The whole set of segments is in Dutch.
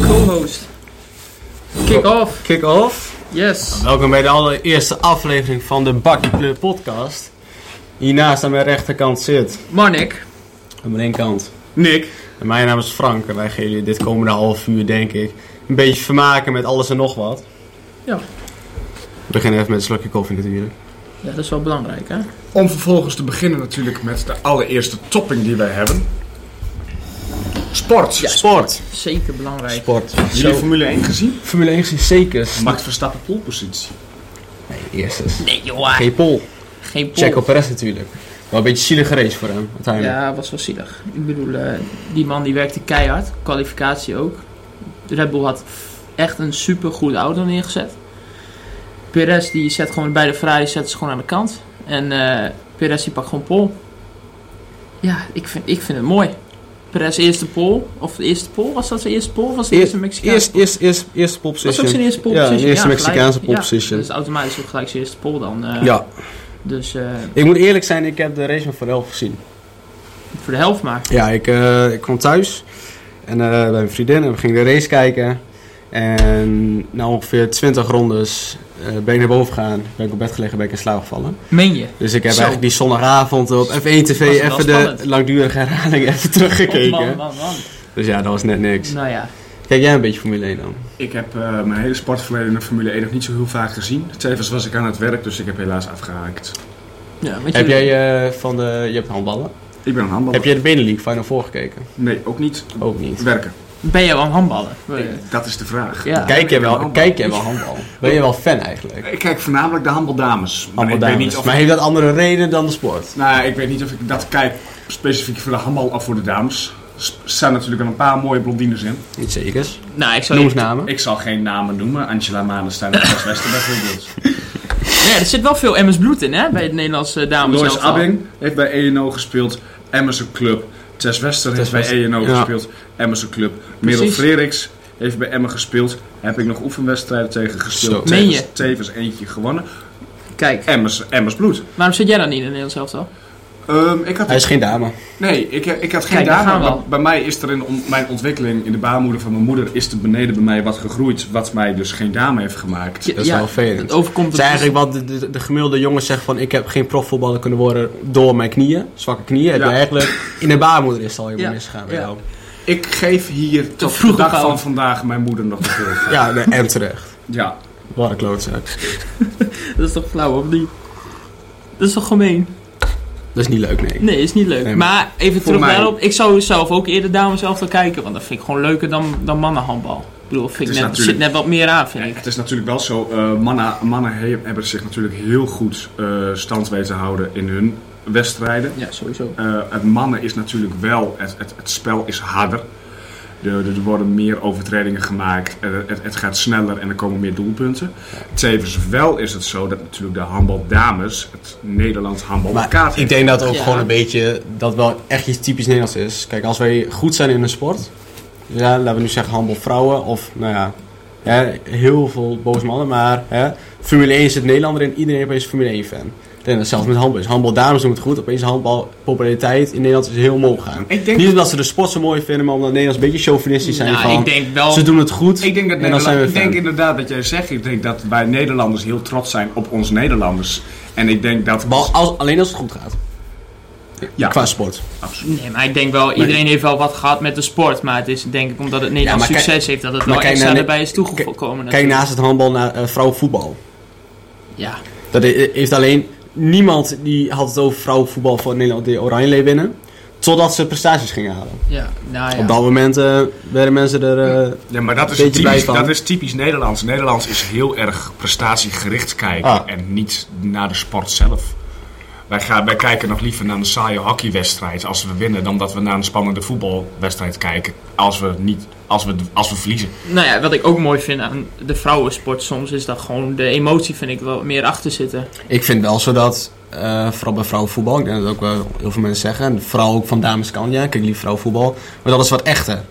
co-host. Kick off, Kick-off. yes. Welkom bij de allereerste aflevering van de Bakkie Club podcast. Hiernaast aan mijn rechterkant zit, Marnik. aan mijn linkerkant. Nick. En mijn naam is Frank en wij gaan jullie dit komende half uur, denk ik, een beetje vermaken met alles en nog wat. Ja. We beginnen even met een slokje koffie natuurlijk. Ja, dat is wel belangrijk hè. Om vervolgens te beginnen natuurlijk met de allereerste topping die wij hebben. Sport. Sport. Zeker belangrijk. Sport. Jullie Formule 1 gezien? Formule 1 is zeker. Max Verstappen poolpositie. Nee, eerst is. Nee joh, Geen pol. geen pol. Check op Perez natuurlijk. Wel een beetje zielige race voor hem, uiteindelijk. Ja, was wel zielig. Ik bedoel, eh, die man die werkte keihard. Kwalificatie ook. Red Bull had echt een super goede auto neergezet. Perez die zet gewoon bij de Ferrari zet ze gewoon aan de kant. En eh Perez die pakt gewoon pol. Ja, ik vind, ik vind het mooi. Perez eerste pol. Of de eerste pol? Was dat zijn eerste pol? Of was de Eer- eerste Mexicaan? Eerst, eerst, eerst, eerste pole was ook position. zijn eerste pole Ja, position. de eerste gelijk. Mexicaanse pole Ja, position. Dus automatisch ook gelijk zijn eerste pole dan. eh. Ja. Dus eh, Ik moet eerlijk zijn, ik heb de race van Varel gezien. voor de helft maar. Ja, ik, eh, ik kwam thuis en, eh, bij mijn vriendin en we gingen de race kijken. En na ongeveer 20 rondes eh, ben ik naar boven gegaan, ben ik op bed gelegen, ben ik in slaap gevallen. Meen je? Dus ik heb Zo. eigenlijk die zondagavond op F1 Was TV het wel even de spannend? langdurige herhaling even teruggekeken. Oh, man, man, man. Dus ja, dat was net niks. Nou ja. Kijk jij een beetje Formule 1 dan? Ik heb eh, mijn hele sportverleden in Formule 1 nog niet zo heel vaak gezien. Tevens was ik aan het werk, dus ik heb helaas afgehaakt. ja weet Heb je, jij eh, van de... Je hebt handballen. Ik ben een handballer. Heb jij de Benelink Final Four gekeken? Nee, ook niet. Ook niet. Werken. Ben je wel aan handballen? Eh, Dat is de vraag. Ja. Oh, Kijk jij wel, handbal. kijk jij wel handbal? Ben je wel fan eigenlijk? Ik kijk voornamelijk de handbaldames. Maar Handbal Ik dames. weet niet of Maar heeft dat andere reden dan de sport? Nou, ik weet niet of ik dat kijk specifiek voor de handbal of voor de dames. S- Er zijn natuurlijk wel een paar mooie blondines in. Niet zekers. Nou, ik zou Noem eens namen. Ik zal geen namen noemen. Angela Manenstein en Chris Wester bijvoorbeeld. Ja, er zit wel veel MS bloed in, hè, bij het Nederlandse dames. Lois elftal. Abbing heeft bij ENO gespeeld. Emerson Club. Tess Wester heeft Tess bij ENO ja. gespeeld. Emerson Club. Merel Precies. Freriks heeft bij Emmen gespeeld. Heb ik nog oefenwedstrijden tegen gespeeld. Zo. Meen Tevens, je? tevens eentje gewonnen. Kijk, Emmers, Emmers bloed. waarom zit jij dan niet in het Nederlands elftal? Ehm, ik had Hij is geen dame. Nee, ik, eh, ik had geen Kijk, daar gaan dame. we maar al. Bij mij is er in on- mijn ontwikkeling in de baarmoeder van mijn moeder is er beneden bij mij wat gegroeid, wat mij dus geen dame heeft gemaakt. Ja, Dat is wel vervelend. Het overkomt Het is het- dus. eigenlijk wat de, de, de gemiddelde jongen zegt van ik heb geen profvoetballer kunnen worden door mijn knieën. Zwakke knieën. Heb Ja. je eigenlijk in de baarmoeder is het al helemaal Ja. misgegaan bij Ja. jou. Ik geef hier tot de vroeg dag gekomen. van vandaag mijn moeder nog de schuld van. Ja, nee, en terecht. Ja. Wat een klootzak. Dat is toch flauw, of niet? Dat is toch gemeen? Dat is niet leuk, nee. Nee, is niet leuk. Nee, maar, even voor terug mij- daarop. Ik zou zelf ook eerder dames elftal kijken, want dat vind ik gewoon leuker dan, dan mannenhandbal. Ik bedoel, vind ik is net, natuurlijk- zit net wat meer aan, vind ik. Het is natuurlijk wel zo, eh, mannen, mannen he- hebben zich natuurlijk heel goed eh, stand weten houden in hun wedstrijden. Ja, sowieso. Eh, het mannen is natuurlijk wel, het, het, het spel is harder. Er, er worden meer overtredingen gemaakt, Eh, het, het gaat sneller en er komen meer doelpunten. Tevens wel is het zo dat natuurlijk de handbaldames, het Nederlands handbal, elkaar Maar ik denk dat ook Ja. gewoon een beetje, dat wel echt iets typisch Nederlands is. Kijk, als wij goed zijn in een sport, ja, laten we nu zeggen handbal vrouwen of nou ja, hè, heel veel boze mannen, maar hè, Formule 1 zit Nederlander in, iedereen opeens Formule 1 fan. Ik denk dat zelfs met handbal is. Handbal dames doen het goed, opeens handbal populariteit in Nederland is heel omhoog gaan. Ik denk- Niet omdat ze de sport zo mooi vinden, maar omdat Nederlands een beetje chauvinistisch zijn Nou, van, ik denk wel... ze doen het goed Ik denk, dat en dan Nederland- zijn we ik fan. denk inderdaad dat jij zegt, ik denk dat wij Nederlanders heel trots zijn op ons Nederlanders. En ik denk dat... Bal- als, alleen als het goed gaat. Ja. Qua sport. Absoluut. Nee, maar ik denk wel, iedereen heeft wel wat gehad met de sport. Maar het is denk ik omdat het Nederlands maar kijk- succes heeft, dat het maar wel kijk extra naar- erbij is kijk- toegekomen. Kijk natuurlijk. naast het handbal naar eh, vrouwenvoetbal. Ja, Dat he- heeft alleen niemand die had het over vrouwenvoetbal voor Nederland de Oranje winnen. Totdat ze prestaties gingen halen. ja, nou ja. Op dat moment eh, werden mensen er. eh, Ja, maar dat is, Beetje typisch, bijstand. dat is typisch Nederlands. Nederlands is heel erg prestatiegericht kijken Ah. en niet naar de sport zelf. Wij, gaan, wij kijken nog liever naar een saaie hockeywedstrijd als we winnen, dan dat we naar een spannende voetbalwedstrijd kijken als we, niet, als we, als we verliezen. Nou ja, wat ik ook mooi vind aan de vrouwensport soms, is dat gewoon de emotie, vind ik, wel meer achter zitten. Ik vind wel zo dat, eh, vooral bij vrouwenvoetbal, ik denk dat ook wel heel veel mensen zeggen. En vooral ook van dames kan, ja, kijk lief vrouwenvoetbal. Maar dat is wat echter.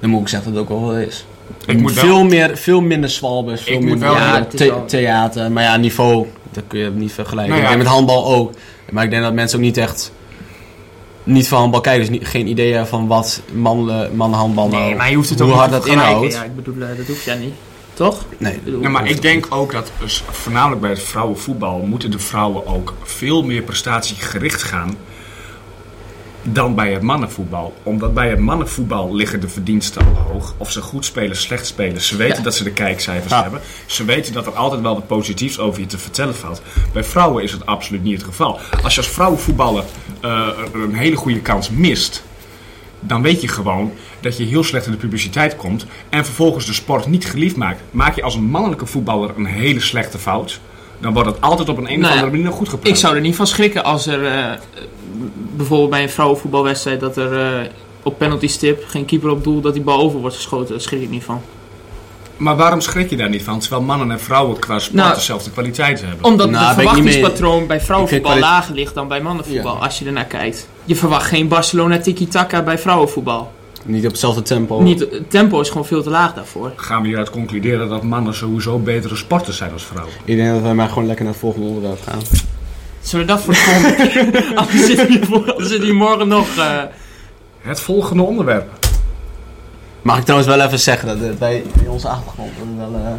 Dan moet ik zeggen dat het ook wel wat is. Ik moet wel- veel, meer, veel minder zwalbes, veel moet minder wel- Ja, eh, het is the- wel- theater. Maar ja, niveau, dat kun je niet vergelijken. Nou ja. En met handbal ook. Maar ik denk dat mensen ook niet echt niet van handbal kijken, dus niet, geen idee hebben van wat mannen, mannenhandbal nou... Nee, maar je hoeft het hoe ook niet hard te dat vergelijken. inhoudt. Ja, ik bedoel, eh, dat hoeft jij niet. Toch? Nee, Ik bedoel, Ja, maar ik denk ook dat dus voornamelijk bij het vrouwenvoetbal moeten de vrouwen ook veel meer prestatiegericht gaan dan bij het mannenvoetbal. Omdat bij het mannenvoetbal liggen de verdiensten al hoog. Of ze goed spelen, slecht spelen. Ze weten Ja. dat ze de kijkcijfers Ja. hebben. Ze weten dat er altijd wel wat positiefs over je te vertellen valt. Bij vrouwen is het absoluut niet het geval. Als je als vrouwenvoetballer eh, een hele goede kans mist, dan weet je gewoon dat je heel slecht in de publiciteit komt en vervolgens de sport niet geliefd maakt. Maak je als een mannelijke voetballer een hele slechte fout, dan wordt het altijd op een, een of Nou ja, andere manier nog goed gepraat. Ik zou er niet van schrikken als er eh, bijvoorbeeld bij een vrouwenvoetbalwedstrijd dat er eh, op penalty stip geen keeper op doel dat die bal over wordt geschoten. Daar schrik ik niet van. Maar waarom schrik je daar niet van, terwijl mannen en vrouwen qua sport Nou, dezelfde kwaliteit hebben? Omdat Nou, het ben ik niet mee. verwachtingspatroon bij vrouwenvoetbal Ik vind kwali- lager ligt dan bij mannenvoetbal. Ja. Als je ernaar kijkt. Je verwacht geen Barcelona tiki-taka bij vrouwenvoetbal. Niet op hetzelfde tempo. Niet, het tempo is gewoon veel te laag daarvoor. Gaan we hieruit concluderen dat mannen sowieso betere sporters zijn als vrouwen? Ik denk dat wij maar gewoon lekker naar het volgende onderwerp gaan. Zullen we dat voor de volgende keer? Anders zitten we hier voor- anders zitten we hier morgen nog. eh, Het volgende onderwerp. Mag ik trouwens wel even zeggen dat eh, bij bij onze achtergrond dat het wel eh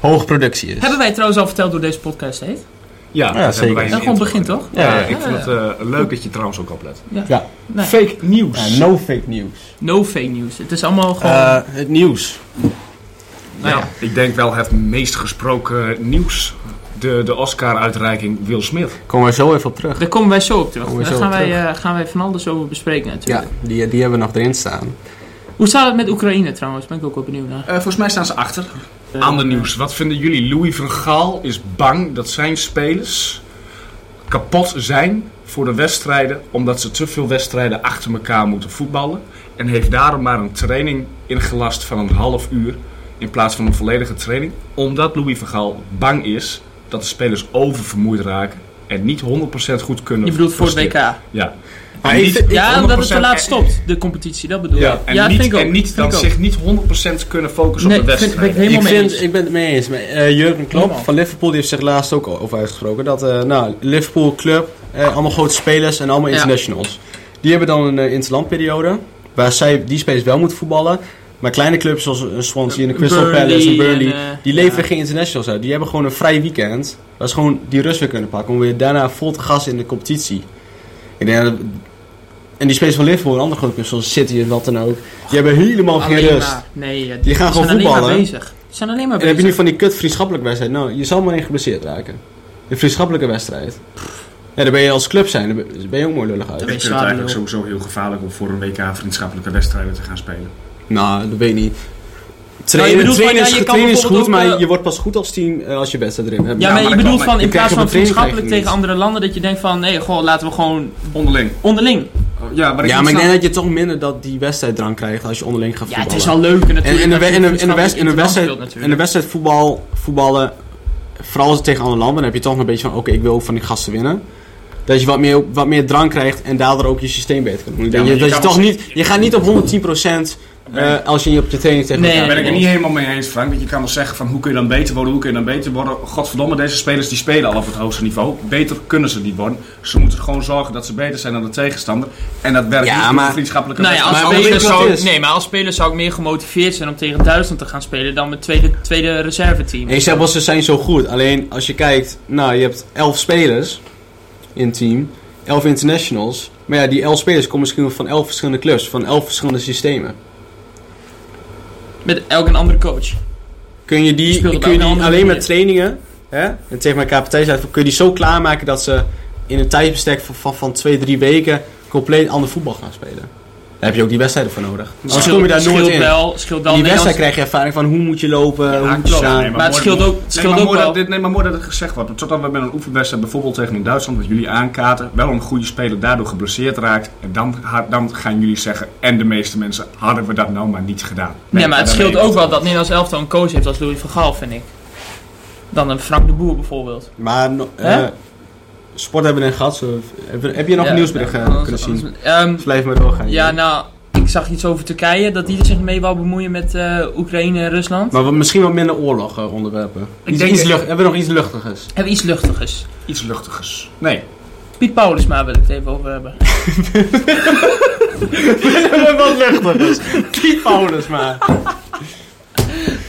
hoge productie is. Hebben wij trouwens al verteld hoe deze podcast heet? Ja, dat zeker. hebben wij in de Dat gewoon intro begint gedaan. toch? Ja, Ja, ja, ik ja. vind het eh, leuk dat je trouwens ook oplet. Nee. Fake nieuws. no fake news. Eh, No fake news. Het is allemaal gewoon. het nieuws. nou ja. Ik denk wel het meest gesproken nieuws. De, de Oscar-uitreiking Will Smith. Komen we zo even op terug. Daar komen wij zo op terug. Komen we Daar zo gaan op wij, terug. eh, gaan wij van alles over bespreken natuurlijk. Ja, die, die hebben we nog erin staan. Hoe staat het met Oekraïne trouwens? Ben ik ook wel benieuwd naar. volgens mij staan ze achter. Eh, Ander nieuws. Wat vinden jullie? Louis van Gaal is bang dat zijn spelers kapot zijn voor de wedstrijden. Omdat ze te veel wedstrijden achter elkaar moeten voetballen. En heeft daarom maar een training ingelast van een half uur. In plaats van een volledige training. Omdat Louis van Gaal bang is dat de spelers oververmoeid raken. En niet 100% goed kunnen Je bedoelt voor het presteren. WK. Ja. Maar En ik niet vind- Ja, omdat het te 100% laat stopt, de competitie, dat bedoel Ja, ik. en ja, niet, vind ik ook. en niet Vind dan ik ook. zich niet 100% kunnen focussen Nee, op de vind- wedstrijd. ben ik helemaal mee ik, vind- eens. ik ben het mee eens. Maar, eh, Jurgen Klopp Helemaal. van Liverpool die heeft zich laatst ook over uitgesproken. Dat eh, nou, Liverpool club, eh, allemaal grote spelers en allemaal Ja. internationals. Die hebben dan een eh, interlandperiode waar zij die spelers wel moeten voetballen. Maar kleine clubs zoals eh, Swansea en de Crystal Burnley Palace en Burnley, en, eh, die leveren ja. geen internationals uit. Die hebben gewoon een vrij weekend waar ze gewoon die rust weer kunnen pakken. Om weer daarna vol te gas in de competitie. Ik denk dat- en die spelers van Liverpool en andere grote clubs zoals City en wat dan ook, die hebben helemaal geen Alleen rust. maar. Nee, ja, die, zijn gaan gewoon alleen maar voetballen. bezig. Ze zijn alleen maar En bezig. dan heb je nu van die kut vriendschappelijke wedstrijd. Nou, je zal maar niet geblesseerd raken. De vriendschappelijke wedstrijd. Ja, dan ben je als club zijn, dan ben- ben je ook mooi lullig ben uit. Ik je vind het zwaar, eigenlijk joh. sowieso heel gevaarlijk om voor een WK vriendschappelijke wedstrijden te gaan spelen. Nou, dat weet ik niet. Nou, je Trainen, bedoelt van, trainen ja, is, je kan trainen is goed, bijvoorbeeld ook, maar eh, je wordt pas goed als team eh, als je wedstrijd erin hebt. ja, maar maar je dat bedoelt kan- van in je krijgt plaats op van een training vriendschappelijk krijg je tegen andere landen, dat je denkt van, nee, goh, laten we gewoon Onderling. Oh, onderling. Ja, maar ik, ja, maar snap- ik denk dat je toch minder dat die wedstrijddrang krijgt als je onderling gaat Ja, voetballen. het is al leuker natuurlijk. En in de, dat we- je in de, in de, vriendschappelijk west- in de interland wedstrijd, speelt natuurlijk. in de wedstrijd voetbal, voetballen, vooral als het tegen andere landen, dan heb je toch een beetje van: oké, ik wil ook van die gasten winnen. Dat je wat meer, wat meer drang krijgt en daardoor ook je systeem beter kan doen. Ik Ja, denk maar je, je dat je, kan toch wel- niet, je gaat niet op 110% eh als je op je training tegen Nee. elkaar daar ben ik voetbalt. er niet helemaal mee eens, Frank. Want je kan wel zeggen van hoe kun je dan beter worden, hoe kun je dan beter worden. Godverdomme, deze spelers die spelen al op het hoogste niveau. Beter kunnen ze niet worden. Ze moeten gewoon zorgen dat ze beter zijn dan de tegenstander. En dat werkt Ja, niet voor maar- de vriendschappelijke Nou ja, als Maar wedstrijd. weet speler je wat zou, het is? nee, maar als speler zou ik meer gemotiveerd zijn om tegen Duitsland te gaan spelen dan met tweede, tweede reserveteam. En je zegt wel, ze zijn zo goed. Alleen als je kijkt, nou, je hebt 11 spelers in het team, 11 internationals. Maar ja, die 11 spelers komen misschien wel van 11 verschillende clubs, van 11 verschillende systemen. Met elk een andere coach. Kun je Die die, speelt op kun je een die andere alleen manier. met trainingen hè, en tegen elkaar partij zijn, kun je die zo klaarmaken dat ze in een tijdsbestek van, van, van twee, drie weken compleet ander voetbal gaan spelen? Daar heb je ook die wedstrijden voor nodig. Anders Scheelt- kom je daar nooit scheelt in. Wel, scheelt wel In die Nederlands- wedstrijd krijg je ervaring van hoe moet je lopen, hoe moet je klopt. staan. Nee, Maar het mooi- scheelt ook, het Nee, scheelt maar ook mooi wel. dat dit, nee, maar mooi dat het gezegd wordt. Want Totdat we met een oefenwedstrijd, bijvoorbeeld tegen een Duitsland, wat jullie aankaarten, wel een goede speler daardoor geblesseerd raakt. En dan, ha- dan gaan jullie zeggen, en de meeste mensen, hadden we dat nou maar niet gedaan. Nee, maar het daar scheelt ben ik ook wel dat Nederlands elftal een coach heeft als Louis van Gaal, vind ik. Dan een Frank de Boer bijvoorbeeld. Maar no- Hè? eh, sport hebben we net gehad. zo- heb je- Heb je nog Ja, een nieuwsbericht eh, ja, anders- kunnen zien? anders- ehm, Dus blijf maar doorgaan. ja, joh. nou, ik zag iets over Turkije, dat die er zich mee wou bemoeien met eh, Oekraïne en Rusland. Maar wat- misschien wat minder oorlog eh, onderwerpen. Ik Iets- denk- iets lucht- hebben we nog iets luchtigers? Hebben we iets luchtigers. Iets luchtigers. Nee. Piet Paulusma wil ik het even over hebben. Wat luchtig is. Piet Paulus maar.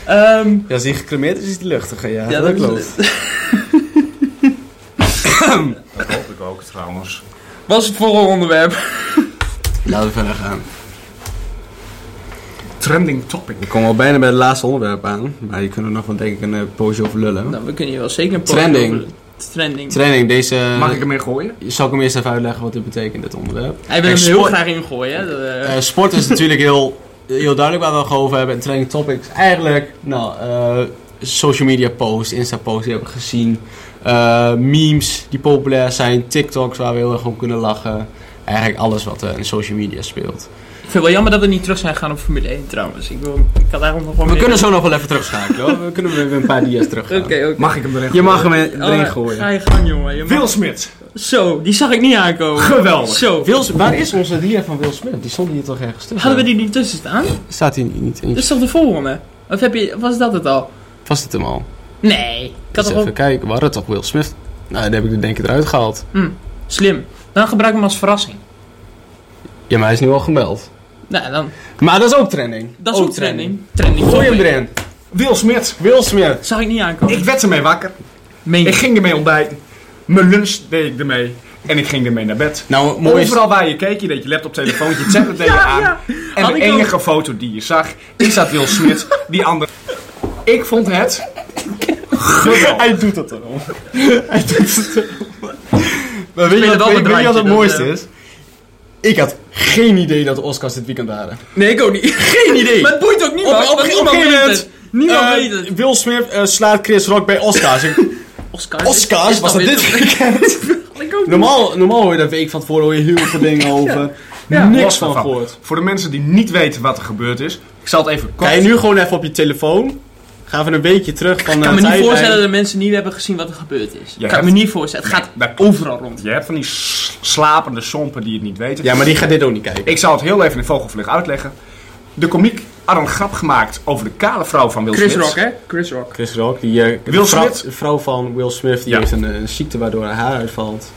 Ehm, Ja, als die gecremeerd is, is die luchtig. Ja, Ja, dat dat klopt. Dat hoop ik ook trouwens. was het volgende onderwerp. Laten we verder gaan. Trending topic. We komen al bijna bij het laatste onderwerp aan. Maar hier kunnen we nog wel denk ik een eh, poosje over lullen. Nou, we kunnen hier wel zeker een Trending. over- Trending. Training, deze... eh, Mag ik hem in gooien? Zal ik hem eerst even uitleggen wat dit betekent, dit onderwerp? Hij wil Kijk, hem heel sport- graag ingooien. hè. Dat, eh, Eh, sport is natuurlijk heel, heel duidelijk waar we het over hebben. En training topics eigenlijk, nou, eh, social media posts, Insta posts die hebben we gezien. Eh, memes die populair zijn, TikToks waar we heel erg om kunnen lachen. Eigenlijk alles wat eh, in social media speelt. ik vind het wel jammer dat we niet terug zijn gegaan op Formule 1 trouwens. Ik, wil, ik had eigenlijk nog wel We meer- kunnen zo nog wel even terugschakelen hoor. We kunnen weer een paar dia's teruggaan. Oké, oké. Mag ik hem erin Je gooien? mag hem erin Oh, Ga gooien. je gang, jongen. Je mag- Will Smith. Zo, die zag ik niet aankomen. Geweldig. Zo. Wil, Dus waar is onze dia van Will Smith? Die stond hier toch ergens tussen? Hadden we die Dus- niet tussen staan? Staat hier niet in? Dat is toch de volgende? Of heb je, was dat het al? Was dit hem al? Nee, ik had Eens toch even ook... kijken, we hadden toch Will Smith? Nou, dat heb ik er denk ik eruit gehaald. Hm, slim. Dan gebruik ik hem als verrassing. Ja, maar hij is nu al gemeld. Nou, dan... Maar dat is ook trending. Dat is ook, trending. Trending. Gooi hem topic. erin. Will Smith. Will Smith. Zag ik niet aankomen. Ik werd ermee wakker. Meen je? Ik ging ermee ontbijten. Mijn lunch deed ik ermee. En ik ging ermee naar bed. Nou, mooi is... Overal waar je keek, je deed je laptop, telefoontje, je tablet deed je aan. En Had de ik ook. enige foto die je zag, is dat Will Smith, die andere. Ik vond het geweldig. Hij doet dat erom. Hij doet het erom. Maar weet je Spelen wat, wel weet, met weet randje, je wat het dus, dat, mooiste eh. is? Ik had geen idee dat de Oscars dit weekend waren. Nee, ik ook niet. Geen idee! Maar het boeit ook niemand. Nou, Op- op- want op- niemand op- weet op- het. Niemand Eh, weet het. Will Smith eh, slaat Chris Rock bij Oscars. Ik- Oscars. Oscars? was dat dan dit weer- weekend? Ik ook niet. Normaal, normaal hoor je dat week van tevoren hoor je heel veel dingen over. Ja. Niks Los van daarvan. gehoord. Voor de mensen die niet weten wat er gebeurd is, ik zal het even kort. Ga je nu gewoon even op je telefoon. Ga even een weekje terug van eh, Ik kan me niet voorstellen dat... dat mensen niet hebben gezien wat er gebeurd is. Ja, ik kan me het- niet voorstellen. Het gaat Daar- overal rond. Je hebt van die s- slapende sompen die het niet weten. Ja, maar die gaat dit ook niet kijken. Ik zal het heel even in vogelvlug uitleggen. De komiek had een grap gemaakt over de kale vrouw van Will Chris Smith. Rock, hè? Chris Rock. Chris Rock, die eh, Will de vrouw, Smith? de vrouw van Will Smith, die Ja. heeft een, eh, ziekte waardoor haar haar uitvalt.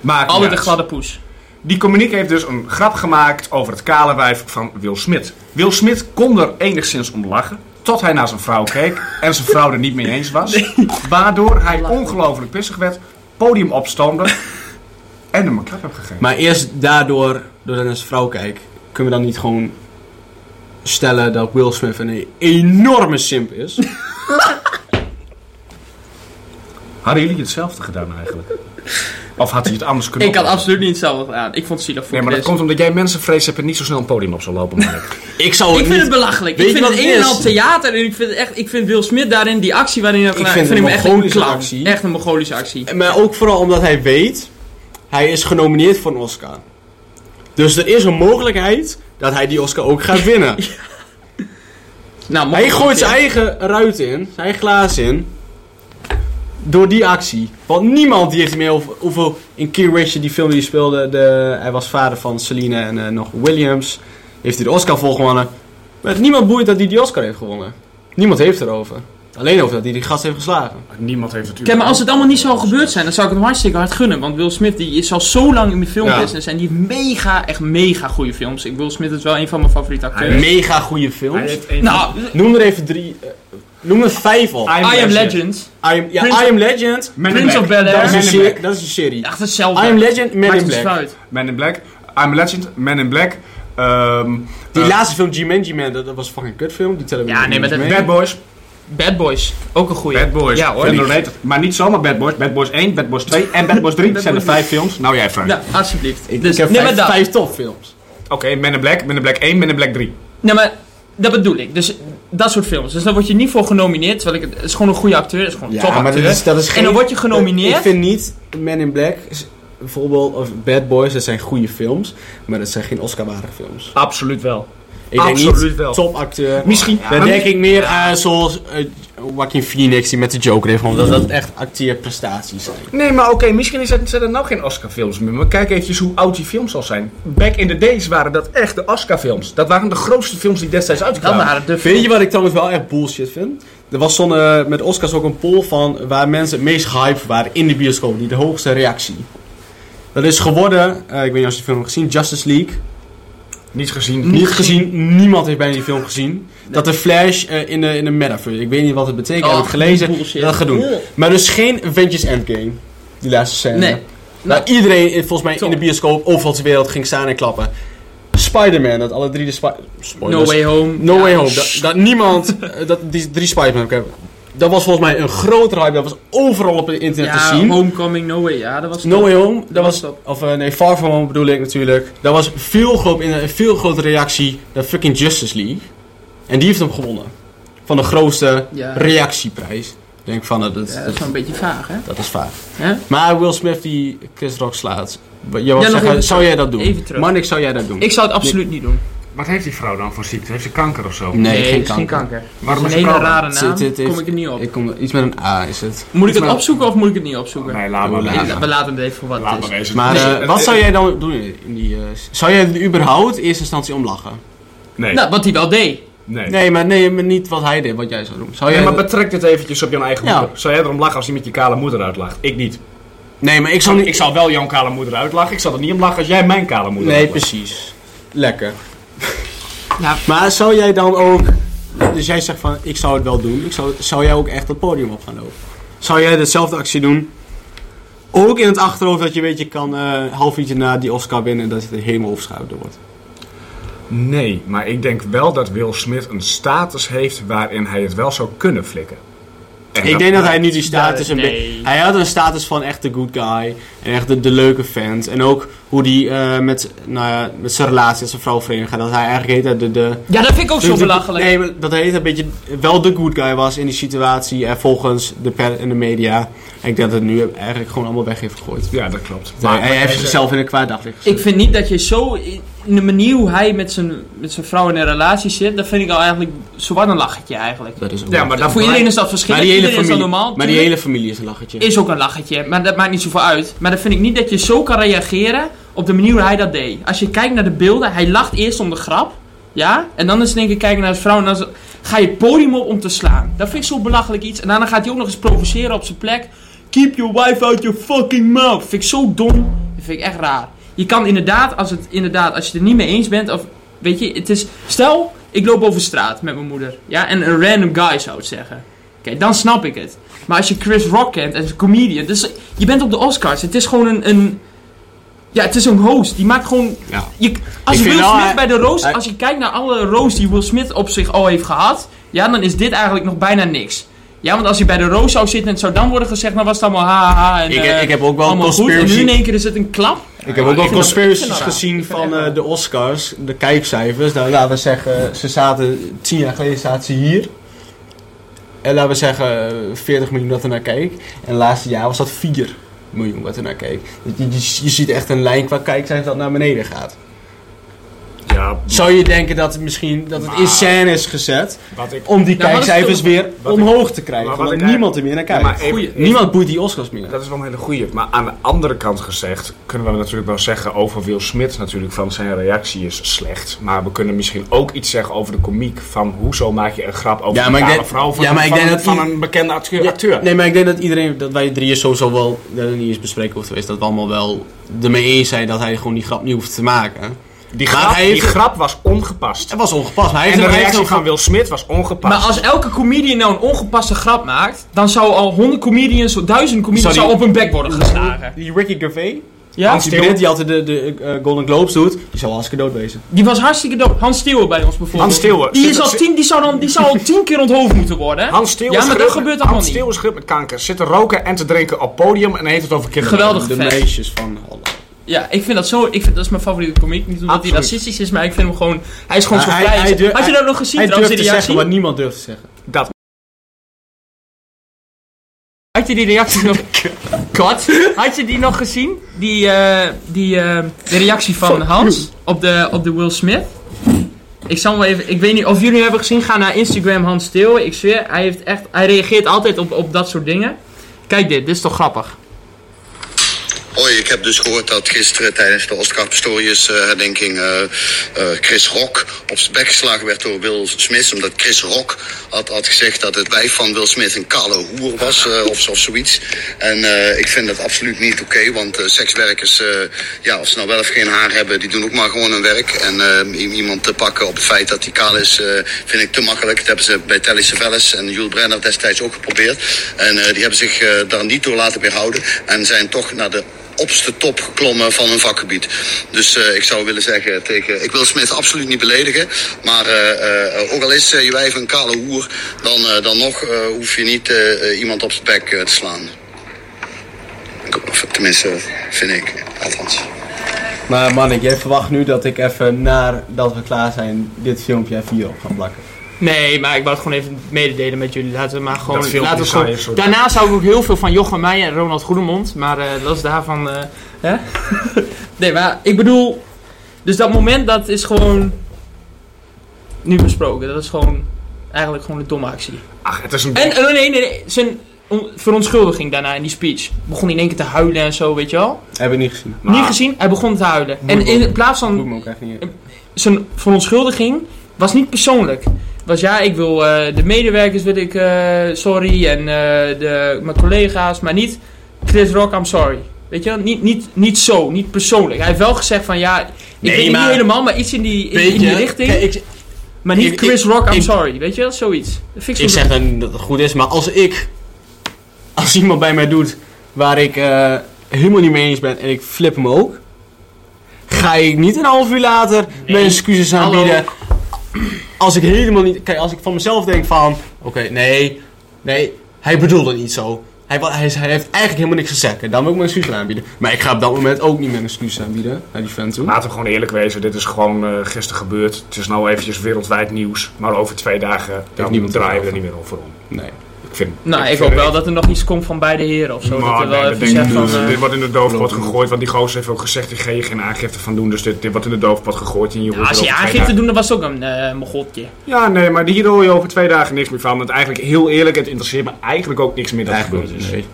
Maakt niet Altijd de uit. gladde poes. Die komiek heeft dus een grap gemaakt over het kale wijf van Will Smith. Will Smith kon er enigszins om lachen. Tot hij naar zijn vrouw keek en zijn vrouw er niet mee eens was. Waardoor hij ongelooflijk pissig werd, podium opstoomde en hem een klap heb gegeven. Maar eerst daardoor, doordat ik naar zijn vrouw kijk, kunnen we dan niet gewoon stellen dat Will Smith een enorme simp is? Hadden jullie hetzelfde gedaan eigenlijk? Of had hij het anders kunnen Ik had oplossen? absoluut niet hetzelfde gedaan. Ik vond het zielig voor Nee, maar dat Chris. komt omdat jij mensenvrees hebt en niet zo snel een podium op zal lopen. Mark. ik zou Ik het vind Oh, niet... het belachelijk. Weet ik je vind wat het een het en is? al theater. En ik vind, het echt, ik vind Will Smith daarin, die actie waarin hij heeft Ik gedaan, vind het een hem echt een Mongolische clown. actie. Echt een Mongolische actie. Nou, Maar ook vooral omdat hij weet, hij is genomineerd voor een Oscar. Dus er is een mogelijkheid dat hij die Oscar ook gaat winnen. Nou, Hij Mongolische- gooit zijn eigen ruit in, zijn eigen glaas in. Door die actie. Want niemand die heeft meer over hoeveel in King Richard die film die hij speelde. De, hij was vader van Celine en eh, nog Williams. Heeft hij de Oscar voor gewonnen. Maar het niemand boeit dat hij die Oscar heeft gewonnen. Niemand heeft erover. Alleen over dat hij die gast heeft geslagen. Niemand heeft natuurlijk... Kijk, maar als het allemaal niet zou gebeurd zijn, dan zou ik hem hartstikke hard gunnen. Want Will Smith die is al zo lang in de filmbusiness en die heeft mega, echt mega goede films. Ik Will Smith is wel een van mijn favoriete Hij acteurs. heeft- Mega goede Hij films. heeft een- Nou, Noem er even drie. eh, noem er vijf op. I I Am Legend, am, ja, Prince- I am Legend. Men in Prince Black. of Bel Dat is, Air. een Men in serie- Black. dat is een serie. Echt I hetzelfde. am Legend, Men Maakt in niet Black. zoveel uit. Men in Black. I'm a Legend, Men in Black. ehm, Die eh, laatste film, G-Man, man dat, dat was een fucking kutfilm. Die tellen we Ja, niet nee, maar eens dat- mee. Bad Boys. Bad Boys, ook een goeie. Bad Boys. Ja hoor. Verder heet het- Maar niet zomaar Bad Boys. Bad Boys 1, Bad Boys 2 en Bad Boys 3. Dat zijn er Boys vijf films. Nou jij Frank. Ja, alsjeblieft. Ik, dus, ik heb nee, maar vijf, dat. vijf topfilms. Oké, Men in Black, Men in Black 1, Men in Black 3. Nee, Nou, maar dat bedoel ik. Dus dat soort films. Dus daar word je niet voor genomineerd. Terwijl ik het, het is gewoon een goede acteur. Het is gewoon een top acteur. dat is en dan word je genomineerd. Ik vind niet Men in Black, is- bijvoorbeeld, of Bad Boys, dat zijn goede films. Maar dat zijn geen Oscar-waardige films. Absoluut wel. Ik denk Absoluut niet, wel. topacteur. Misschien. Dan maar denk ik meer aan zoals eh, Joaquin Phoenix die met de Joker heeft gewonnen. Dat dat echt acteerprestaties zijn. Nee, maar oké, misschien is het- zijn er nou geen Oscar-films meer. Maar kijk eventjes hoe oud die films al zijn. Back in the days waren dat echt de Oscar-films. Dat waren de grootste films die destijds dan uitkwamen. waren de Weet je wat ik trouwens wel echt bullshit vind? Er was zo'n, eh, met Oscars ook een poll van waar mensen het meest hype waren in de bioscoop. Die de hoogste reactie. Dat is geworden, eh, ik weet niet of je de film hebt gezien, Justice League. Niet gezien. Niet gezien, niemand heeft bijna die film gezien. Dat de Flash eh, in, de, in de metaverse, ik weet niet wat het betekent, heb ik gelezen. Oh, bullshit. Dat gaat doen. Ugh. Maar dus geen Avengers Endgame, die laatste scène. Nee. Nou, iedereen eh, volgens mij Top. in de bioscoop overal ter wereld ging staan en klappen. Spider-Man, dat alle drie de Spi- No spoilers. Way Home. No Ja, Way Home. Dat, dat niemand eh, dat die drie Spider-Man hebben. Dat was volgens mij een grote hype. Dat was overal op het internet te Ja, zien. Homecoming, No Way. Ja, dat was No Way Home, dat Dat was, was top. of eh, nee, Far From Home bedoel ik natuurlijk. Dat was veel groot, in een veel grote reactie dan fucking Justice League. En die heeft hem gewonnen. Van de grootste Ja, reactieprijs. Ik denk van, eh, dat, ja, dat dat, is wel een beetje vaag, hè? dat is vaak. Hè? Maar Will Smith die Chris Rock slaat. Je nog wou zeggen, even zou jij dat doen? Even terug. Manik, zou jij dat doen? Ik zou het absoluut niet doen. Wat heeft die vrouw dan voor ziekte? Heeft ze kanker of zo? nee, geen het is kanker. Waarom Het is is ze een hele kanker? rare Het- het- naam. het heeft- Kom ik er niet op. Ik kom, iets met een A is het. Moet ik het het maar- opzoeken of moet ik het niet opzoeken? Nee, laat maar. Nee, Ik- laat We laten het even voor wat Laat het maar is. wezen. Maar Nee, eh, het- wat zou jij dan doen in die... eh, zou jij het überhaupt in eerste instantie omlachen? Nee, Nou, wat hij wel deed. nee. Nee, maar, nee, maar niet wat hij deed, wat jij zou doen. Zou Nee, jij maar betrek dit eventjes op jouw eigen Ja. moeder. Zou jij erom lachen als iemand je kale moeder uitlacht? Ik niet. Nee, maar ik Ik zal, zou niet, ik niet... zal wel jouw kale moeder uitlachen. Ik zal er niet om lachen als jij mijn kale moeder Nee, uitlacht. precies. Lekker. Ja. Maar zou jij dan ook... Dus jij zegt van, ik zou het wel doen. Ik zou, zou jij ook echt het podium op gaan lopen? Zou jij dezelfde actie doen? Ook in het achterhoofd dat je weet, je kan eh half uurtje na die Oscar winnen... dat het helemaal overschuiven wordt. Nee, maar ik denk wel dat Will Smith een status heeft waarin hij het wel zou kunnen flikken. En ik denk dat hij nu die status Ja, een nee. beetje... Hij had een status van echt de good guy. En echt de, de leuke fans. En ook hoe die eh, met, nou ja, met zijn relatie en zijn vrouw verenigd gaat. Dat hij eigenlijk heet dat de... de Ja, dat vind ik ook zo de- belachelijk. Nee, maar dat hij heet een beetje wel de good guy was in die situatie. En volgens de pers en de media. En ik denk dat het nu eigenlijk gewoon allemaal weg heeft gegooid. Ja, dat klopt. Maar hij heeft hij- zichzelf in een kwaad daglicht gezet. Ik vind niet dat je zo in in de manier hoe hij met zijn, met zijn vrouw in een relatie zit, dat vind ik al eigenlijk zo wat een lachetje eigenlijk. Dat is ook Ja, wel- maar dat voor iedereen is dat maar verschillend, die hele iedereen is dat familie, normaal. maar die tuurlijk. hele familie is een lachertje. Is ook een lachetje, maar dat maakt niet zoveel uit. Maar dat vind ik niet dat je zo kan reageren op de manier hoe hij dat deed. Als je kijkt naar de beelden, hij lacht eerst om de grap, ja, en dan is denk ik kijken naar zijn vrouw en dan is- ga je het podium op om te slaan. Dat vind ik zo belachelijk iets. En daarna gaat hij ook nog eens provoceren op zijn plek. Keep your wife out your fucking mouth. Vind ik zo dom. Dat vind ik echt raar. Je kan inderdaad, als, het, inderdaad, als je het er niet mee eens bent, of weet je, het is, stel, ik loop over straat met mijn moeder, ja, en een random guy zou het zeggen. Oké, dan snap ik het. Maar als je Chris Rock kent en is een comedian, dus je bent op de Oscars. Het is gewoon een, een ja, het is een host. Die maakt gewoon, Ja. je, als Ik Will Smith vind wel, hij- bij de roos, hij- als je kijkt naar alle roos die Will Smith op zich al heeft gehad, ja, dan is dit eigenlijk nog bijna niks. Ja, want als hij bij de roos zou zitten en het zou dan worden gezegd, dan was het allemaal ha ha, ha en Ik, eh, ik heb ook wel een allemaal goed. En nu in conspiracy één keer is het een klap. Ik ik heb ook wel vind dat- Nou. ik conspiracies vind dat raar. gezien Ik vind van dat eh, raar. de Oscars, de kijkcijfers. Nou, laten we zeggen, ze zaten, tien jaar geleden zaten ze hier. En laten we zeggen, eh, 40 miljoen dat er naar keek. En het laatste jaar was dat 4 miljoen wat er naar keek. Dus Je, je, je ziet echt een lijn qua kijkcijfers dat naar beneden gaat. Ja, Zou je denken dat, het misschien, dat het in Maar- scène is gezet wat ik... om die Nou, wat is kijkcijfers toch- weer wat ik- omhoog te krijgen? maar wat Omdat ik niemand er meer naar kijkt. maar even- Goeie- even- niemand boeit die Oscars meer. Dat is wel een hele goeie. Maar aan de andere kant gezegd, kunnen we natuurlijk wel zeggen over Will Smith natuurlijk van zijn reactie is slecht. Maar we kunnen misschien ook iets zeggen over de komiek van hoezo maak je een grap over Ja, een maar ik kale denk- vrouw van, ja, maar ik van, denk dat van i- een bekende acteur. Ja, acteur. Nee, maar ik denk dat iedereen, dat wij drieën sowieso wel, dat het niet eens bespreken hoeft te wezen, dat we allemaal wel ermee eens zijn dat hij gewoon die grap niet hoeft te maken. Die, Maar grap, hij die heeft- grap was ongepast. Het was ongepast, maar hij En heeft de hem- hij reactie heeft van hem- Will Smith was ongepast. Maar als elke comedian nou een ongepaste grap maakt, dan zou al honderd comedians, duizend comedians Zou zou die- op hun bek worden geslagen. Die Ricky Gervais, Ja? die Brit die altijd de, de eh, Golden Globes doet, die zal hartstikke dood wezen. Die was hartstikke dood. Hans Steeuwen bij ons bijvoorbeeld. Hans Steeuwen. Die, is Zit- al zit- tien, die, zou dan, die zou al tien keer onthoofd moeten worden. Hans Steeuwen Ja, maar schreeuwt- dat gebeurt allemaal Hans niet. Steeuwen schreeuwt met kanker. Zit te roken en te drinken op podium en heeft het over kinderen. Geweldig De vet. meisjes van Holland. Ja, ik vind dat zo... Ik vind, dat is mijn favoriete comic. Niet omdat hij Absoluut. racistisch is, maar ik vind hem gewoon... Hij is gewoon Ja, zo hij- vrij. hij durf- Had je dat nog gezien Hij trouwens, die durft te reactie? zeggen wat niemand durft te zeggen. Dat. Had je die reactie nog... God. Had je die nog gezien? Die, eh, die eh, de reactie van Hans op de, op de Will Smith? Ik zal hem wel even... Ik weet niet of jullie hem hebben gezien. Ga naar Instagram Hans Steeuwen. Ik zweer, hij, heeft echt, hij reageert altijd op, op dat soort dingen. Kijk dit, dit is toch grappig. Hoi, ik heb dus gehoord dat gisteren tijdens de Oscar Pistorius eh, herdenking eh, eh, Chris Rock op zijn bek geslagen werd door Will Smith. Omdat Chris Rock had, had gezegd dat het wijf van Will Smith een kale hoer was eh, of, zo- of zoiets. En eh, ik vind dat absoluut niet oké, want eh, sekswerkers, eh, ja, of ze nou wel of geen haar hebben, die doen ook maar gewoon hun werk. En eh, i- iemand te pakken op het feit dat hij kaal is, eh, vind ik te makkelijk. Dat hebben ze bij Telly Savalas en Jules Brenner destijds ook geprobeerd. En eh, die hebben zich eh, daar niet door laten weerhouden en zijn toch naar de opste top geklommen van hun vakgebied. Dus eh, ik zou willen zeggen tegen... Ik wil Smit absoluut niet beledigen. Maar eh, eh, ook al is eh, je wijf een kale hoer... dan, eh, dan nog eh, hoef je niet eh, eh, iemand op zijn bek eh, te slaan. Of tenminste, vind ik. Althans. Maar Mannik, jij verwacht nu dat ik even nadat we klaar zijn dit filmpje even hierop ga plakken. Nee, maar ik wou het gewoon even mededelen met jullie. Laten we maar gewoon... Dat filmpje laten we het zou je zo- Daarna zou ik ook heel veel van Jochem Meijer en Ronald Goedemond. Maar eh los daarvan... eh, hè? nee, maar ik bedoel... Dus dat moment, dat is gewoon... Nu besproken. Dat is gewoon... Eigenlijk gewoon een domme actie. Ach, het is een... En eh, nee, nee, nee. Zijn on- verontschuldiging daarna in die speech. Begon hij in één keer te huilen en zo, weet je wel. Heb ik niet gezien. Maar- Niet gezien, hij begon te huilen. En in plaats van Doe me ook echt niet. zijn verontschuldiging was niet persoonlijk. Was ja, ik wil eh, de medewerkers, wil ik eh, sorry en eh, de, mijn collega's, maar niet Chris Rock, I'm sorry. Weet je, wel? niet, niet, niet zo, niet persoonlijk. Hij heeft wel gezegd van ja, ik Nee, weet het maar- niet helemaal, maar iets in die, in, in die richting. Kijk, ik, maar niet ik- Chris ik- Rock, I'm ik- sorry. Weet je, wel? zoiets. Dat vind ik ik zo- zeg dan niet dat het goed is, maar als ik... Als iemand bij mij doet waar ik eh, helemaal niet mee eens ben en ik flip hem ook... Ga ik niet een half uur later mijn excuses hallo. aanbieden. Als ik helemaal niet... Kijk, als ik van mezelf denk van... Oké, nee, nee, hij bedoelde het niet zo. Hij, wa- hij, hij heeft eigenlijk helemaal niks gezegd. En dan wil ik mijn excuses aanbieden. Maar ik ga op dat moment ook niet mijn excuses aanbieden naar die vent toe. Laten we gewoon eerlijk wezen, dit is gewoon eh, gisteren gebeurd. Het is nou eventjes wereldwijd nieuws, maar over twee dagen dan niemand draaien we er over. niet meer over om. Nee. Ik vind, nou, ik vind hoop wel dat er nog iets komt van beide heren of zo. Maar dat er nee, wel dat even denk zegt ik van... niet. eh, dit wordt in de doofpot geloof ik gegooid, want die gozer heeft ook gezegd, ik ga hier geen aangifte van doen. Dus dit, dit wordt in de doofpot gegooid en je hoort als er hij over twee aangifte doen, dan was het ook een eh mogotje. Ja, nee, maar hier hoor je over twee dagen niks meer van. Want eigenlijk, heel eerlijk, het interesseert me eigenlijk ook niks meer dat er Eigenlijk gebeurd is. niet. Nee.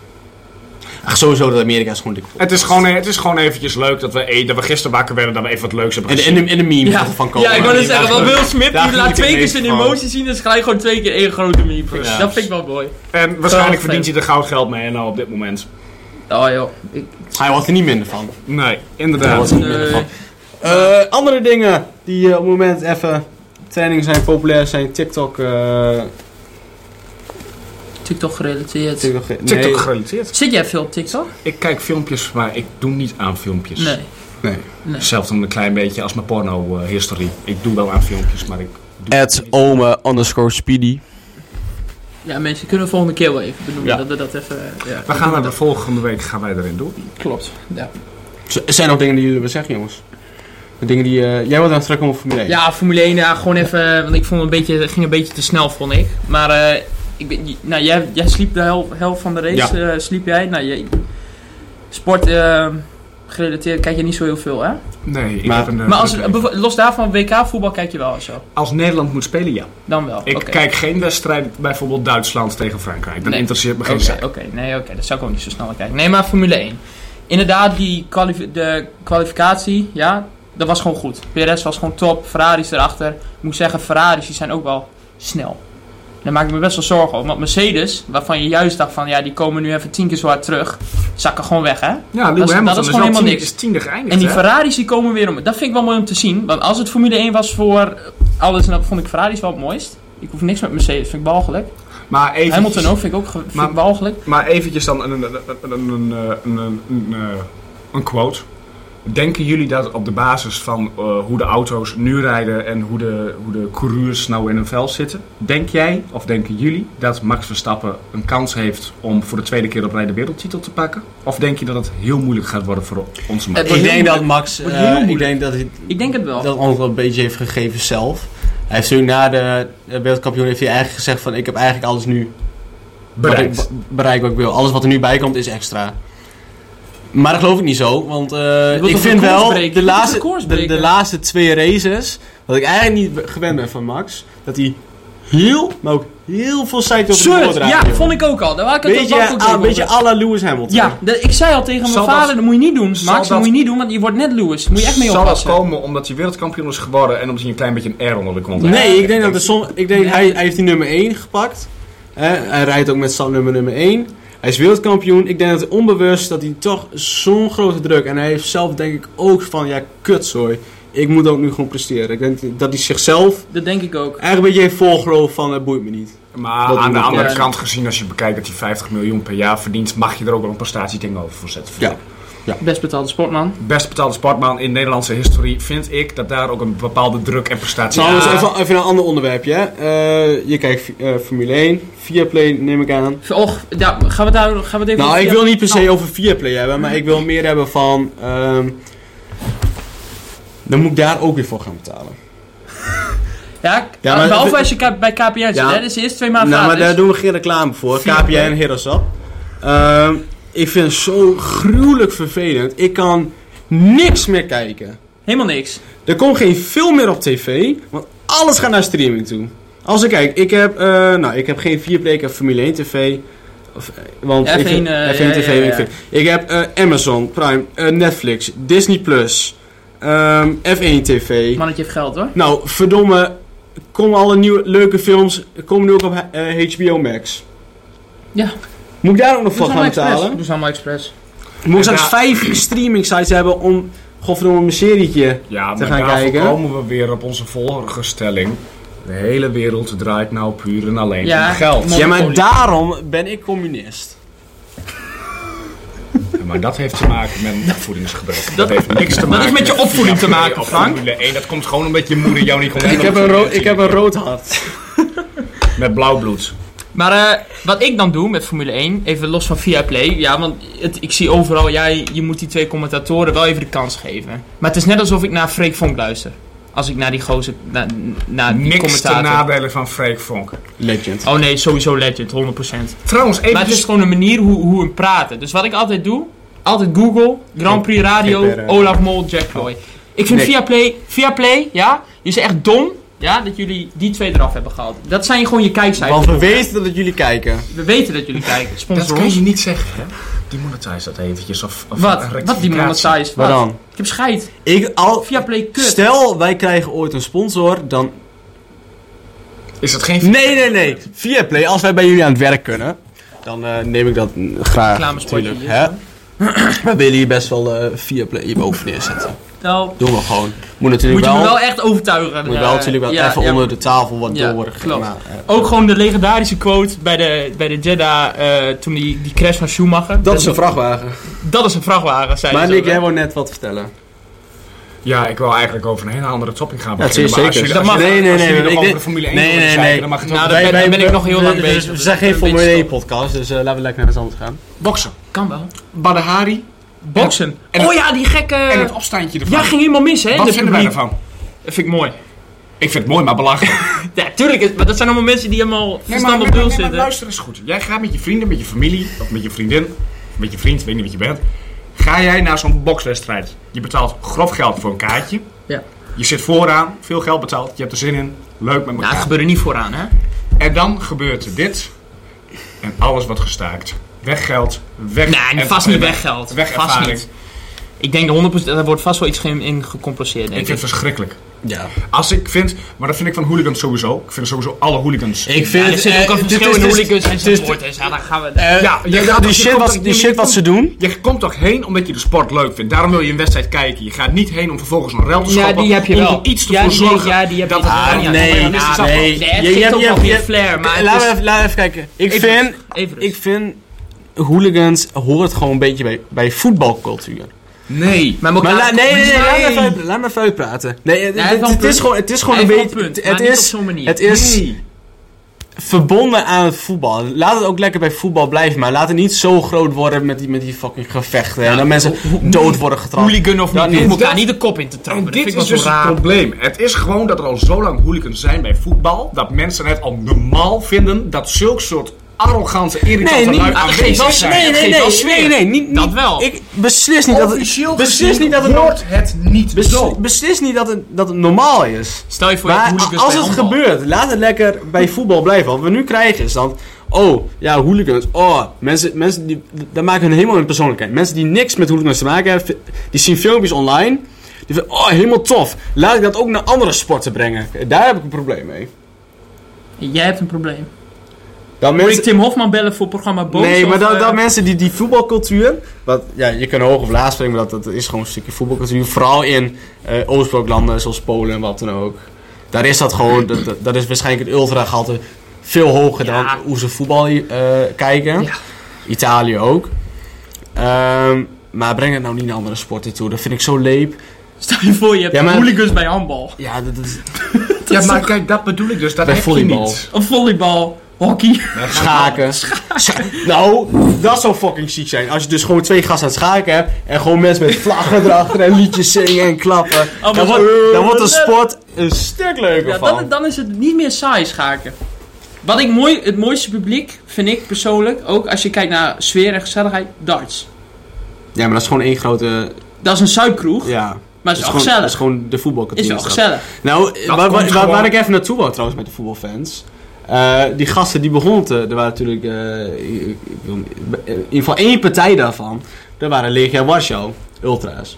Ach, sowieso dat Amerika is gewoon dik vol. Het is, gewoon, het is gewoon eventjes leuk dat we, eh, dat we gisteren wakker werden, dat we even wat leuks hebben En de, en de, en de meme gaat ervan komen. ja, ik wou net het zeggen, want Will Smith daar die geniet laat ik twee keer meest zijn van. emoties zien, dus gelijk gewoon twee keer één grote meme. Ja. Dat vind ik wel mooi. En waarschijnlijk verdient hij er goud geld mee en nou op dit moment. Oh joh, ik, Hij wordt er niet minder van. Nee, Hij inderdaad. wordt er niet minder van. Eh, andere dingen die eh, op het moment even training zijn, populair zijn. TikTok. eh TikTok gerelateerd. TikTok, nee. TikTok gerelateerd. Zit jij veel op TikTok? Ik kijk filmpjes, maar ik doe niet aan filmpjes. Nee. Nee. Hetzelfde een klein beetje als mijn porno-historie. ik doe wel aan filmpjes, maar ik... At ome underscore speedy. Ja, mensen kunnen we volgende keer wel even benoemen. Ja. Dat we dat even. Ja, We gaan naar de volgende week gaan wij erin door. Klopt. Ja, Z- Er zijn nog dingen die jullie willen zeggen, jongens. De dingen die... eh, jij wordt aan het trekken om Formule 1. ja Formule 1, ja, gewoon even. Want ik vond het een beetje, het ging een beetje te snel, vond ik. Maar eh, ik ben, nou, jij, jij sliep de hel- helft van de race. eh, sliep jij? Nou, jij, sport eh, gerelateerd kijk je niet zo heel veel, hè? Nee, ik Maar- heb een... eh, Maar als, druk leven. bevo- los daarvan, WK voetbal kijk je wel en zo. als Nederland moet spelen, ja. Dan wel. Ik Oké. kijk geen wedstrijd, bijvoorbeeld Duitsland tegen Frankrijk. Dat Nee. interesseert me Oké, geen zaak. oké. Nee, oké. Dat zou ik ook niet zo snel naar kijken. Nee, maar Formule 1. Inderdaad, die kwalifi- de kwalificatie, ja, dat was gewoon goed. PRS was gewoon top. Ferraris erachter. Ik moet zeggen, Ferraris die zijn ook wel snel. Daar maak ik me best wel zorgen over. Want Mercedes, waarvan je juist dacht van, ja, die komen nu even tien keer zo hard terug. Zakken gewoon weg, hè? Ja, Dat Lewis is- Hamilton dat is is, gewoon wel helemaal tiende- niks. is tiende geëindigd, En die hè? Ferraris die komen weer om. Dat vind ik wel mooi om te zien. Want als het Formule 1 was voor alles, en dat vond ik Ferraris wel het mooist. Ik hoef niks met Mercedes, vind ik belachelijk. Maar eventjes, Hamilton ook, vind ik ook ge- vind Maar- ik belachelijk. Maar eventjes dan een, een, een, een, een, een, een, eh, een quote. Denken jullie dat op de basis van eh, hoe de auto's nu rijden en hoe de, hoe de coureurs nou in hun vel zitten, denk jij of denken jullie dat Max Verstappen een kans heeft om voor de tweede keer op rij de wereldtitel te pakken? Of denk je dat het heel moeilijk gaat worden voor onze Max? Het- Ik Wordt heel denk dat Max... Wordt eh, heel ik moeilijk. denk dat hij Ik denk het wel. dat antwoord wel een beetje heeft gegeven zelf. Hij heeft nu na de eh, wereldkampioen heeft hij eigenlijk gezegd van ik heb eigenlijk alles nu Bereikt. Wat ik, be- bereikt wat ik wil. Alles wat er nu bij komt is extra. Maar dat geloof ik niet zo, want eh, wilt ik toch vind records wel breken? Je de wilt laatste, records de, de breken? laatste twee races, wat ik eigenlijk niet be- gewend ben van Max, dat hij heel, maar ook heel veel tijd over de Soort, woordraad. ja, vond ik ook al. Daar was ik het Beetje, ook ook ah, tegen een beetje over. à la Lewis Hamilton. Ja, de- ik zei al tegen mijn Zal dat- vader, dat, moet je niet doen, zal Max, dat, dat- moet je niet doen, want je wordt net Lewis. Daar Moet je echt mee Zal dat oppassen. komen omdat hij wereldkampioen is geworden en omdat hij een klein beetje een R onder de kont heeft? Nee, ik denk dat er som, ik denk, hij, hij heeft die nummer 1 gepakt. Hè, hij rijdt ook met stapnummer nummer 1. Hij is wereldkampioen. Ik denk dat hij onbewust dat hij toch zo'n grote druk. En hij heeft zelf denk ik ook van ja, kutzooi. Ik moet ook nu gewoon presteren. Ik denk dat hij zichzelf Dat denk ik ook. eigenlijk een beetje heeft volgelopen van het boeit me niet. Maar Dat aan de moet andere wel. kant gezien, als je bekijkt dat hij 50 miljoen per jaar verdient, mag je er ook wel een prestatie tegenover voor zetten. Ja. Best betaalde sportman. Best betaalde sportman in Nederlandse historie vind ik dat daar ook een bepaalde druk en prestatie Trouwens, Ja. even, even een ander onderwerpje. Hè. Eh, je kijkt eh, Formule 1, Viaplay neem ik aan. Och, ja, gaan we, daar, gaan we het even... Nou, over- ik wil niet per se Nou, over Viaplay hebben, maar ik wil meer hebben van... ehm, dan moet ik daar ook weer voor gaan betalen. Nou, Ja, Ja, maar- behalve als je ka- bij KPN zit, Ja. hè. Dat is eerst twee maanden nou, maar gratis. daar doen we geen reclame voor. KPN, Viaplay. Herosap. Ehm ik vind het zo gruwelijk vervelend. Ik kan niks meer kijken. Helemaal niks. Er komt geen film meer op tv, want alles gaat naar streaming toe. Als ik kijk, ik heb, eh, nou, ik heb geen 4 ik heb Formule 1 TV. Of, eh, want Ja, ik F1, vind- eh, F1 ja, TV. ja, ja. Ik, vind- ik heb eh, Amazon Prime, eh, Netflix, Disney Plus, ehm, F1 TV. Mannetje heeft geld, hoor. Nou, verdomme, komen alle nieuwe leuke films komen nu ook op eh, HBO Max. Ja. Moet ik daar ook nog Doe voor ze gaan allemaal expres. betalen? Doe ze allemaal expres. Moet ik straks Ja. vijf streaming sites hebben om, godverdomme, een serietje. Ja, te maar gaan daar kijken. komen we weer op onze vorige stelling. De hele wereld draait nou puur en alleen Ja. om geld. Monopoly. Ja, maar daarom ben ik communist. Maar dat heeft te maken met een opvoedingsgebrek. Dat, Dat- heeft niks te maken dat is met je opvoeding te Formule maken, of Frank. Formule 1. Dat komt gewoon omdat je moeder jou niet kon Ik heb, een rood, ik heb een rood hart. Met blauw bloed. Maar eh, wat ik dan doe met Formule 1, even los van Viaplay. Ja, want het, ik zie overal, jij, je moet die twee commentatoren wel even de kans geven. Maar het is net alsof ik naar Freek Vonk luister. Als ik naar die gozer, naar, naar die Niks ten commentator. nadele van Freek Vonk. Legend. Oh nee, sowieso legend, 100%. Trouwens, Maar het is dus- eventjes... gewoon een manier hoe, hoe we praten. Dus wat ik altijd doe, altijd Google, Grand Prix Radio, GPR, eh. oh. Olaf Mol, Jack Floyd. Ik vind Nee. Viaplay, Viaplay, ja, is echt dom. Ja, dat jullie die twee eraf hebben gehaald. Dat zijn gewoon je kijkcijfers. Want we weten dat jullie kijken. We weten dat jullie kijken. Dat Sponsor kun ons. je niet zeggen, hè? Demonetize dat eventjes. Of, of een Wat? Wat rectificatie. die monetize? Wat dan? Ik heb scheid. Ik al, Viaplay kut. stel, wij krijgen ooit een sponsor, dan... Is dat geen... Nee, nee, nee. Via Play, als wij bij jullie aan het werk kunnen, dan eh, neem ik dat mm, graag. Reclamespotje natuurlijk, hier, hè? We willen hier best wel eh Via Play hierboven neerzetten. Nou, Doen we gewoon. Moet natuurlijk moet je wel... me wel echt overtuigen. moet Eh, wel natuurlijk wel ja, even ja. onder de tafel wat Ja, door worden gegaan. klopt. Ook gewoon de legendarische quote bij de, bij de Jeddah eh, toen die, die crash van Schumacher. vrachtwagen. Dat is een vrachtwagen, zei Maar ze zo, Nick, hè? jij wou net wat vertellen. Ja, ik wil eigenlijk over een hele andere topic gaan Ja, beginnen. zeker, maar als zeker. jullie- Dat als mag. jullie- Nee, nee, als nee, jullie nog ik over denk- de Formule 1 nee, willen nee, zeiken, nee. dan mag het Nou, ook. dat- ben- daar ben ik nog heel lang bezig, We dus zijn dat geen is een Formule beetje 1 podcast, dus eh, laten we lekker naar iets anders gaan. Boksen. Kan wel. Badahari. Boksen. en- oh ja, die gekke... En het opstaantje ervan. ja, ging helemaal mis, hè? in Wat het vinden wij publiek. ervan? Dat vind ik mooi. Ik vind het mooi, maar belachelijk. Ja, tuurlijk. is- Maar dat zijn allemaal mensen die helemaal Nee, maar, verstand op nee, maar- nul nee, maar zitten. luister eens goed. Jij gaat met je vrienden, met je familie, of met je vriendin, of met je vriend, weet niet wat je bent. Ga jij naar zo'n bokswedstrijd. Je betaalt grof geld voor een kaartje. Ja. Je zit vooraan, veel geld betaald, je hebt er zin in. Leuk met Nou, elkaar. het gebeurde niet vooraan, hè? en dan gebeurt er dit. En alles wordt gestaakt. Weggeld, weg... Nee, en- vast niet weggeld. Vast Wegervaring. niet. Ik denk de 100%, daar wordt vast wel iets ge- in gecompenseerd, Ik denk vind ik. het verschrikkelijk. Ja. Als ik vind, maar dat vind ik van hooligans sowieso. Ik vind sowieso alle hooligans. Ik Ja, vind er zit ook eh, een dit verschil is- in dit is- hooligans en dit is- supporters. Ja, daar gaan we... eh, Ja, je- die- die je shit komt wat- ook Die niet shit meer wat ze doen, Je komt toch heen omdat je de sport leuk vindt. Daarom wil je een wedstrijd kijken. Je gaat niet heen om vervolgens een rel te Ja, schoppen. die heb je om wel. er iets te Ja, voor die- zorgen ja, die heb dat je het wel. aan- Ah, aan- nee, aan- aan- nee. aan- het geeft ook wel weer flair, maar het Laten is- we even- laten we even kijken. Ik Even vind... rust, even rust. Ik vind... Hooligans hoort gewoon een beetje bij, bij voetbalcultuur. Nee. Maar elkaar Maar la- nee, nee, nee, compenseren- laat me even uit- laat me even uitpraten. Nee, het, hij heeft het- wel een het is punt. gewoon, het is gewoon Hij een heeft wel beetje... een punt, het maar niet is, op zo'n manier. Het is Nee. verbonden aan het voetbal. Laat het ook lekker bij voetbal blijven, maar laat het niet zo groot worden met die, met die fucking gevechten. en dat mensen dood worden getrapt. Hooligan of Ja, niet. Je nee, moet elkaar dat- niet de kop in te trappen. En Dat vind dit ik wel is zo dus het raar. probleem. Het is gewoon dat er al zo lang hooligans zijn bij voetbal. Dat mensen het al normaal vinden dat zulk soort arrogante, irritante Nee, niet- lui Ah, aanwezig geef wel zijn. sfeer. nee, geeft nee, wel sfeer. nee, nee, niet, niet, Dat wel. Ik beslis niet dat Officieel het, beslis gezien dus niet dat het, wordt het niet beslis- zo. beslis niet dat het, dat het normaal is. Stel je voor, je Maar hebt hooligans als bij het handbal. gebeurt, laat het lekker bij voetbal blijven. Wat we nu krijgen is dan, oh, ja, hooligans. Oh, mensen, mensen die, dat maken hun helemaal hun persoonlijkheid. Mensen die niks met hooligans te maken hebben, die zien filmpjes online. Die vinden, oh, helemaal tof. Laat ik dat ook naar andere sporten brengen. Daar heb ik een probleem mee. Jij hebt een probleem. Dat Moet mensen, ik Tim Hofman bellen voor programma Boos? nee, maar of, dat, eh, dat mensen die die voetbalcultuur. Wat, ja, je kunt hoog of laag springen, maar dat, dat is gewoon een stukje voetbalcultuur. Vooral in eh Oostbloklanden zoals Polen en wat dan ook. Daar is dat gewoon, dat, dat- dat is waarschijnlijk het ultra-gehalte veel hoger dan Ja. hoe ze voetbal eh, kijken. Ja. Italië ook. Ehm, maar breng het nou niet naar andere sporten toe. Dat vind ik zo leep. Stel je voor, je hebt Ja, maar- hooligans bij handbal. Ja, dat, dat is Ja, maar kijk, dat bedoel ik dus. Dat Bij heb je volleybal. niet. Of volleybal, hockey. schaken. Scha- Nou, dat zou fucking ziek zijn. Als je dus gewoon twee gasten aan het schaken hebt. En gewoon mensen met vlaggen erachter en liedjes zingen en klappen. Oh, maar dan, wat- wordt, dan wordt de eh, sport een stuk leuker Ja, van. dan, dan is het niet meer saai schaken. Wat ik mooi, het mooiste publiek vind ik persoonlijk, ook als je kijkt naar sfeer en gezelligheid, darts. Ja, maar dat is gewoon één grote... Dat is een zuipkroeg, Ja, maar dat het is is wel gewoon, dat gezellig. is gewoon de Is voetbalcultuur. wel gezellig. Nou, eh, Dat waar, waar, komt waar- waar gewoon- ik even naartoe wou trouwens met de voetbalfans. Eh, die gasten die begonnen te, er waren natuurlijk, eh, ik- ik wil niet- eh, in ieder geval één partij daarvan, dat waren Legia Warschau, ultra's.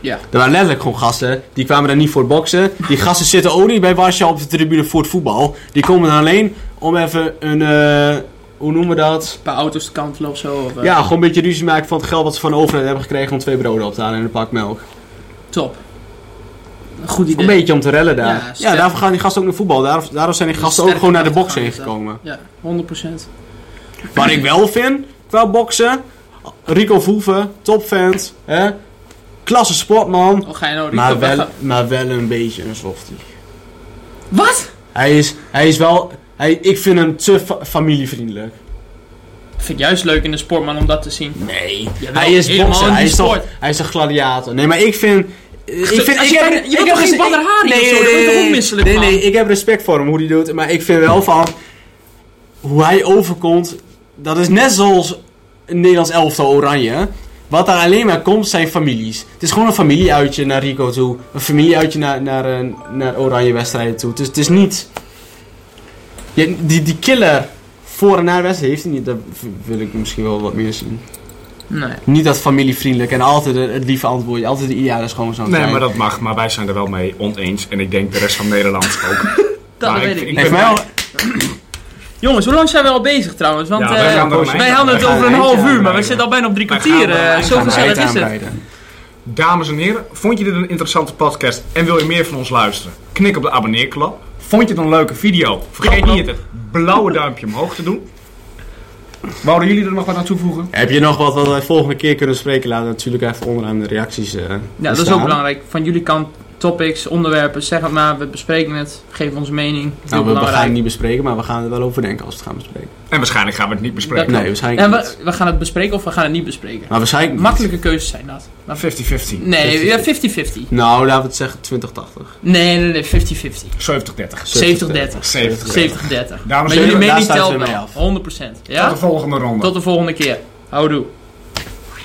Ja. Er waren letterlijk gewoon gasten, die kwamen daar niet voor het boksen. Die gasten zitten ook niet bij Warschau op de tribune voor het voetbal. Die komen er alleen om even een, eh, hoe noemen we dat? Een paar auto's te kantelen of zo. Of, eh, Ja, gewoon een beetje ruzie maken van het geld wat ze van de overheid hebben gekregen om twee broden op te halen en een pak melk. Top. Een Goed idee. Een beetje om te rellen daar. Ja, Ja, sterk. daarvoor gaan die gasten ook naar voetbal. Daarom, daarom zijn die gasten ook Sterk gewoon naar de kracht boksen gaan is dat. ingekomen. Ja, 100%. Wat ik wel vind, qua boksen, Rico Voeven, topfans, hè? klasse sportman. Oh, ga je nou Rico Maar wel, weg- maar wel een beetje een softie. Wat? Hij is, hij is wel, hij, ik vind hem te fa- familievriendelijk. Ik vind het juist leuk in de sportman om dat te zien. Nee, Jawel, hij is helemaal bokser, in hij die is, toch, sport. hij is een gladiator. Nee, maar ik vind... Ik Als vind je ik bijna- heb, je ik wordt heb toch geen res- Badr-Hari nee, of zo? nee, Daar word je nee, toch ook nee, misselijk nee, van? nee, ik heb respect voor hem, hoe hij doet. Maar ik vind wel van... Hoe hij overkomt, dat is net zoals een Nederlands elftal oranje. Wat daar alleen maar komt, zijn families. Het is gewoon een familieuitje naar Rico toe. Een familieuitje naar, naar, eh, naar oranje wedstrijden toe. Dus het is niet... Ja, die, die killer voor en na wedstrijd heeft hij niet. Dat v- wil ik misschien wel wat meer zien. Nee. Niet dat familievriendelijk en altijd het lieve antwoordje, altijd de ideale schoonzoon. Nee, zijn. maar dat mag. Maar wij zijn er wel mee oneens. En ik denk de rest van Nederland ook. Dat Maar weet ik- ik ik- niet. Nee, voor mij al- Jongens, hoe lang zijn we al bezig trouwens? Want Ja, eh, wij gaan er wij omheen. hadden het Wij gaan over een er half eindje uur, maar we aanbreiden. zitten al bijna op drie Wij kwartier. gaan er eh, eindje Zo Gaan we gezellig eind is het. aanbreiden. Dames en heren, vond je dit een interessante podcast en wil je meer van ons luisteren? Knik op de abonneerknop. Vond je het een leuke video? Vergeet niet het blauwe duimpje omhoog te doen. Wouden jullie er nog wat aan toevoegen? Heb je nog wat wat wij volgende keer kunnen spreken? Laat het natuurlijk even onderaan de reacties. eh, Ja, dat is staan. ook belangrijk. Van jullie kant topics, onderwerpen, zeg het maar. We bespreken het. Geef onze mening. Heel Nou, we- we, gaan belangrijk. het niet bespreken, maar we gaan er wel over denken als we het gaan bespreken. En waarschijnlijk gaan we het niet bespreken. Nee, waarschijnlijk En niet. we, we gaan het bespreken of we gaan het niet bespreken. Maar waarschijnlijk niet. Makkelijke keuzes zijn dat. Maar- 50-50. Nee, 50-50. ja, 50-50. Nou, laten we het zeggen 2080. Nee, nee, nee, 50-50. 70-30. 70-30. 70. 70-30. Dames Maar en jullie heren, daar mening sluiten telt we mee wel. af. 100%. tot Ja? de volgende ronde. Tot de volgende keer. Houdoe.